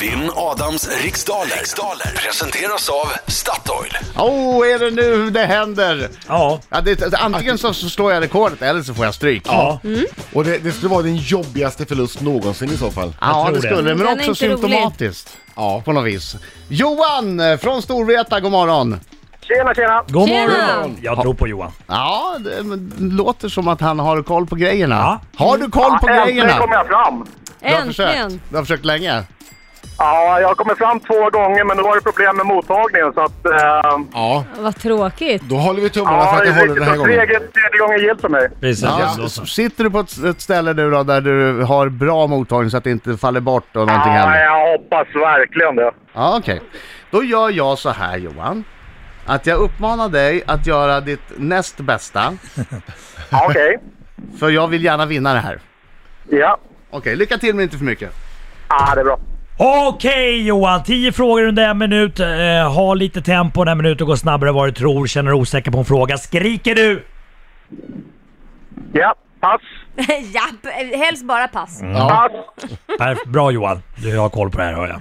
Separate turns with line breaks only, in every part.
Vinn Adams riksdaler. riksdaler presenteras av Statoil.
Åh, är det nu det händer?
Ja.
Ja, det, det- antingen så, så slår jag rekordet eller så får jag stryk.
Ja,
Och det, det skulle vara din jobbigaste förlust någonsin i så fall.
Ja,
tror
det
det.
skulle det, men
Den
också
är inte rolig.
symptomatiskt. Ja, på något vis. Johan eh, från Storvreta, god morgon.
Tjena, tjena!
god
Tjena.
morgon! Jag tror på Johan.
Ja, det men det låter som att han har koll på grejerna.
Ja.
Har du koll på
Äntligen
grejerna?
kom jag fram!
Du har försökt.
Äntligen!
Du har försökt länge.
Ja, jag har kommit fram två gånger men då var det problem med mottagningen så att... Eh,
Ja,
Vad tråkigt.
då håller vi tummarna
ja,
för att det håller den här gången.
Tredje, tredje gången gillt för mig.
Precis,
Ja,
då så.
s- sitter du på ett, ett ställe nu då där du har bra mottagning så att det inte faller bort och någonting
Ja,
händer?
jag hoppas verkligen det.
Ja, okej. Då gör jag så här Johan. Att jag uppmanar dig att göra ditt näst bästa.
Ja, Okej.
För jag vill gärna vinna det här.
Ja.
Okej, lycka till men inte för mycket.
ja, det är bra.
Okej Johan, 10 frågor under en minut. Eh, ha lite tempo, den här minuten går snabbare än vad du tror. Känner du osäker på en fråga, skriker du!
Ja, pass.
Japp, helst bara pass.
Pass.
Perf- Bra Johan, du har koll på det här hör jag.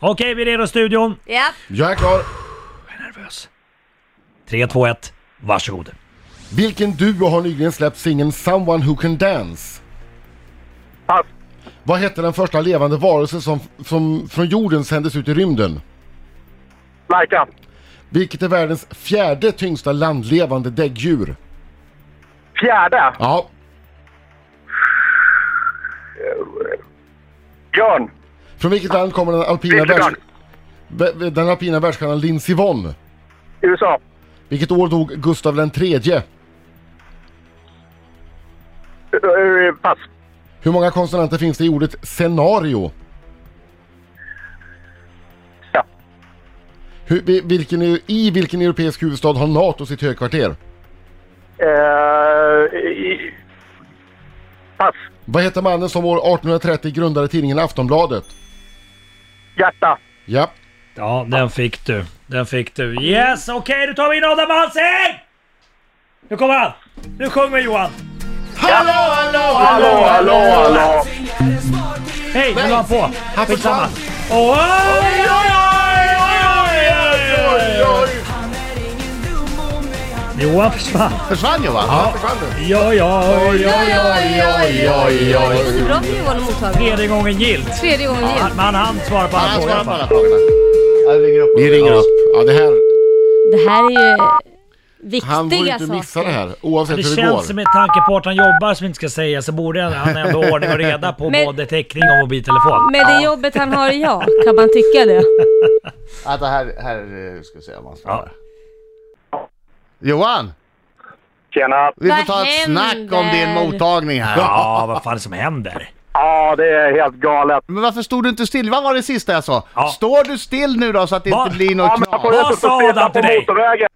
Okej, vi är redo i studion.
Japp.
Jag är klar.
Nervös. 3, 2, 1. Varsågod.
Vilken duo har nyligen släppt singeln “Someone Who Can Dance”?
Pass.
Vad hette den första levande varelsen som, som från jorden sändes ut i rymden?
Lajka.
Vilket är världens fjärde tyngsta landlevande däggdjur?
Fjärde.
Ja.
Björn.
Från vilket land kommer den alpina, världs...
Vilken
vä- den alpina världsstjärnan Lindsey Vonn?
USA.
Vilket år dog Gustav den tredje?
Ö, ö, Pass.
Hur många konsonanter finns det i ordet scenario?
Ja.
Hur, vi- vilken, eu- I vilken europeisk huvudstad har NATO sitt högkvarter?
Eh, i- pass.
Vad heter mannen som år 1830 grundade tidningen Aftonbladet?
Hjärta.
Ja.
Ja, den fick du. Den fick du. Yes, okej, då tar vi in Adam Alsing! Nu kommer han! Nu sjunger Johan!
Hallå, hallå,
Hallå, hallå, hallå!
Hej, nu var han på!
Han
Skitsamma!
försvann.
Oj, oj, oj, oj, oj, oj, oj. Johan försvann.
Försvann Johan?
Ja, ja, oj, oj.
Oj, oj, oj, oj, oj. Det är så bra för Johan att mottaga.
Tredje gången gillt.
Tredje gången
Han,
gillt.
men han svarar på
Ja,
alla
han svarar på
frågor.
alla frågorna. Ja, vi ringer upp.
Vi ringer upp. Ja, det här,
Det här är ju viktiga
han får ju inte
saker.
missa det här oavsett
Det
hur det går.
känns som med tanke på att han jobbar som inte ska säga så borde han ändå ha ordning och reda på
Men-
både täckning och mobiltelefon.
Med det jobbet han har ja, kan man tycka det?
Vänta, här, här eh, ska vi se om han svarar.
Ja.
Johan!
Tjena.
Vi får
Vad
ta ett snack om din
händer?
mottagning här.
Ja, vad fan är det som händer?
Ja, det är helt galet.
Men varför stod du inte still? Vad var det sista jag sa?
Ja.
Står du still nu då så att det
Va?
inte blir
Ja,
något
men
knas?
jag får ju inte
Vad
stå
sa
stilla
han
på
till dig?
motorvägen.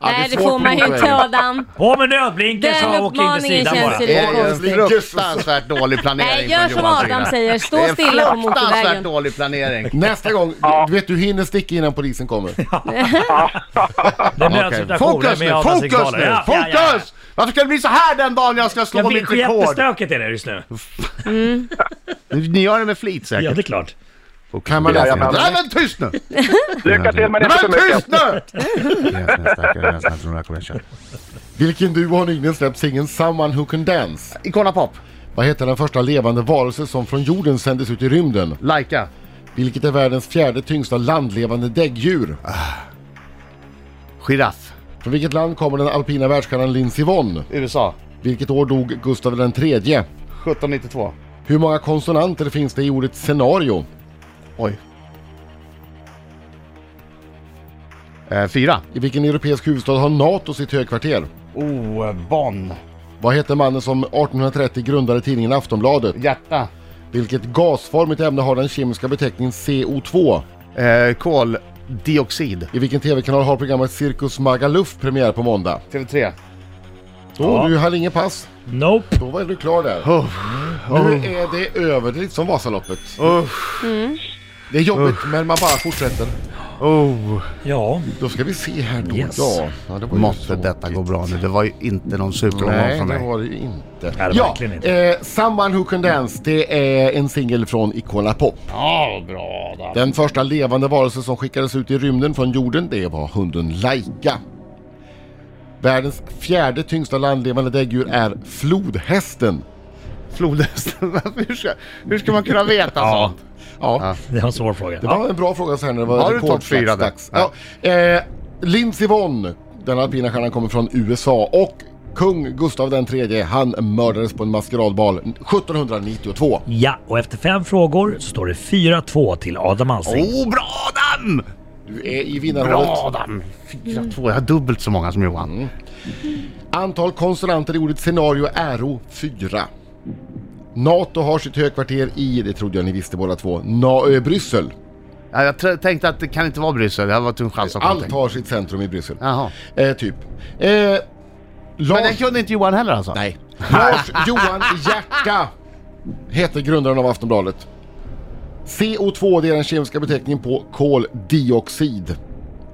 Ja,
Nej, det
svårt
får man ju inte
motorväg.
Adam.
På med nödblinken så
Den
han åker in till
uppmaningen
sidan
känns
bara.
ju
Det
lite
är
konstig.
en fruktansvärt dålig planering
Nej, gör
från
som
Johans
Adam
sida.
säger.
Det
Stå
är
stilla på
fruktansvärt
motorvägen.
dålig planering.
Nästa gång, du vet du hinner sticka innan polisen kommer.
Det blir
Okej.
alltså station, det är
Fokus nu,
med Adams
fokus
signaler.
nu,
Ja, ja, ja.
fokus! Varför ska det bli så här den dagen jag ska slå
Jag
mitt
vet,
rekord?
jättestökigt är det just nu.
Ni gör det med flit
Ja,
säkert.
det är klart.
Kan man läsa
Jajamän.
Nej men tyst nu!
Lycka till men
Nej
inte för
men
mycket.
tyst nu! Nästa,
Vilken duo har nyligen släppt singeln “Someone Who Can Dance”?
Icona Pop,
Vad heter den första levande varelse som från jorden sändes ut i rymden?
Laika,
Vilket är världens fjärde tyngsta landlevande däggdjur?
Giraff,
Från vilket land kommer den alpina världsstjärnan Lindsey Vonn?
USA,
Vilket år dog Gustav den tredje?
1792.
Hur många konsonanter finns det i ordet scenario?
Oj. Eh, fyra.
I vilken europeisk huvudstad har NATO sitt högkvarter?
Oh, Bonn.
Vad hette mannen som 1830 grundade tidningen Aftonbladet?
Hjärta.
Vilket gasformigt ämne har den kemiska beteckningen CO2?
Eh, koldioxid.
I vilken TV-kanal har programmet Cirkus Magaluf premiär på måndag?
TV3.
Då, du hade ingen pass.
Nope.
Då var du klar där.
Oh.
Nu är det över, det är lite som Vasaloppet. Det är jobbigt, men man bara fortsätter.
Oh,
Ja.
Då ska vi se här då.
Yes.
Ja, ja, det var ju så
måtte detta gå
tråkigt.
bra nu. Det var ju inte någon superomgång
Nej,
från
det
mig.
var det ju inte.
det var
ja,
verkligen inte.
Eh, Someone Who Can Dance, det är en singel från Icona Pop.
Ja, bra då.
Den första levande varelse som skickades ut i rymden från jorden, det var hunden Laika. Världens fjärde tyngsta landlevande däggdjur är flodhästen.
Flodhästen, hur ska, hur ska man kunna veta sånt?
Ja,
Det var en svår fråga.
det var en bra fråga sen när det var
Har du topp
rekordslags-
fyra där?
dags. Ja, eh, Lindsey Vonn, den alpina stjärnan kommer från USA och kung Gustav den tredje, han mördades på en maskeradbal 1792.
Ja, och efter fem frågor så står det 4-2 till Adam Alsing.
Oh, bra Adam!
Du är i
Bra
vinnarhålet.
Adam! Fyra, två. Jag har dubbelt så många som Johan.
Antal konsonanter i ordet scenario äro 4. NATO har sitt högkvarter i, det trodde jag ni visste båda två, Na- eh, Bryssel.
Ja, jag tr- tänkte att det kan inte vara Bryssel. Det hade varit en chans att
Allt har sitt centrum i Bryssel.
Jaha.
Eh, typ. Eh,
Men den
Lars,
kunde inte Johan heller alltså?
nej. Lars Johan Hierta heter grundaren av Aftonbladet. CO2 det är den kemiska beteckningen på koldioxid.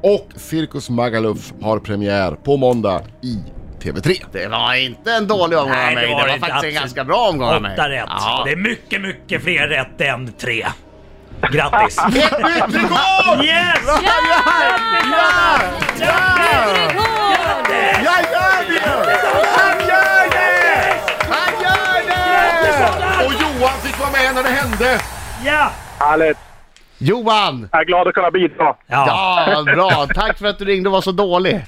Och Cirkus Magaluf har premiär på måndag i TV3.
Det var inte en dålig omgång av
Nej,
mig. Det var,
det
faktiskt
absolut.
en ganska bra omgång av mig.
Åtta rätt.
Ja.
Det är mycket, mycket fler rätt än tre. Grattis!
Jag
yes!
gör det! Han gör det! Han gör det!
Och Johan fick vara med när det hände!
Ja!
Härligt!
Johan!
Jag är glad att kunna bidra.
Ja,
Ja, bra. Tack för att du ringde och var så dålig.